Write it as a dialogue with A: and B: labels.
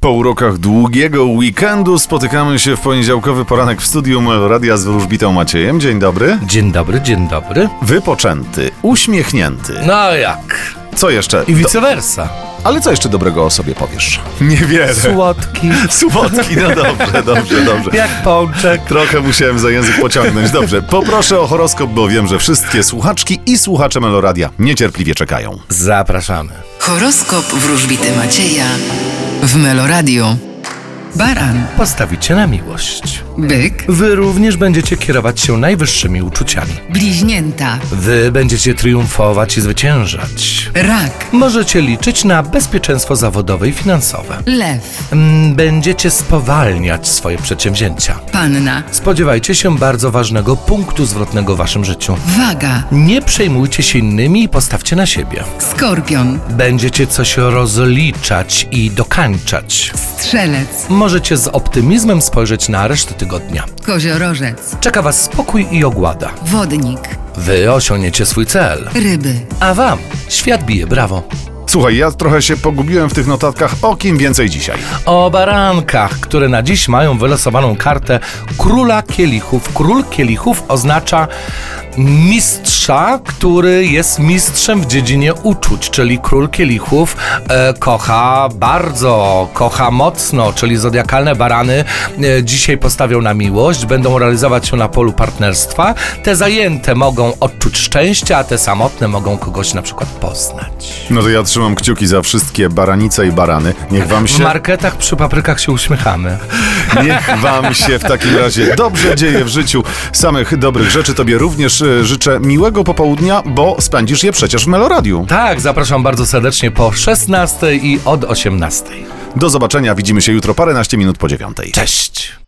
A: Po urokach długiego weekendu spotykamy się w poniedziałkowy poranek w studium Radia z Wróżbitą Maciejem. Dzień dobry.
B: Dzień dobry, dzień dobry.
A: Wypoczęty, uśmiechnięty.
B: No a jak?
A: Co jeszcze?
B: I vice versa.
C: Ale co jeszcze dobrego o sobie powiesz?
A: Niewiele.
B: Słodki,
A: Słodki, no dobrze, dobrze, dobrze.
B: jak pączek.
A: Trochę musiałem za język pociągnąć. Dobrze, poproszę o horoskop, bo wiem, że wszystkie słuchaczki i słuchacze Meloradia niecierpliwie czekają.
B: Zapraszamy.
D: Horoskop wróżbity Macieja w Meloradio. Baran,
B: Postawicie na miłość.
D: byk,
B: Wy również będziecie kierować się najwyższymi uczuciami.
D: bliźnięta,
B: Wy będziecie triumfować i zwyciężać.
D: rak,
B: Możecie liczyć na bezpieczeństwo zawodowe i finansowe.
D: lew,
B: Mm, Będziecie spowalniać swoje przedsięwzięcia.
D: panna,
B: Spodziewajcie się bardzo ważnego punktu zwrotnego w waszym życiu.
D: waga,
B: Nie przejmujcie się innymi i postawcie na siebie.
D: skorpion,
B: Będziecie coś rozliczać i dokańczać.
D: strzelec,
B: Możecie z optymizmem spojrzeć na resztę tygodnia.
D: koziorożec,
B: Czeka Was spokój i ogłada.
D: wodnik,
B: Wy osiągniecie swój cel.
D: ryby.
B: A Wam świat bije brawo.
A: Słuchaj, ja trochę się pogubiłem w tych notatkach. O kim więcej dzisiaj?
B: O barankach, które na dziś mają wylosowaną kartę króla kielichów. Król kielichów oznacza mistrza, który jest mistrzem w dziedzinie uczuć, czyli król kielichów e, kocha bardzo, kocha mocno, czyli zodiakalne barany e, dzisiaj postawią na miłość, będą realizować się na polu partnerstwa. Te zajęte mogą odczuć szczęście, a te samotne mogą kogoś na przykład poznać.
A: No to ja trzymam kciuki za wszystkie baranice i barany. Niech wam
B: W
A: się...
B: marketach przy paprykach się uśmiechamy.
A: Niech wam się w takim razie dobrze dzieje w życiu. Samych dobrych rzeczy tobie również y, życzę miłego popołudnia, bo spędzisz je przecież w Meloradiu.
B: Tak, zapraszam bardzo serdecznie po 16 i od 18.
A: Do zobaczenia, widzimy się jutro paręnaście minut po dziewiątej.
B: Cześć!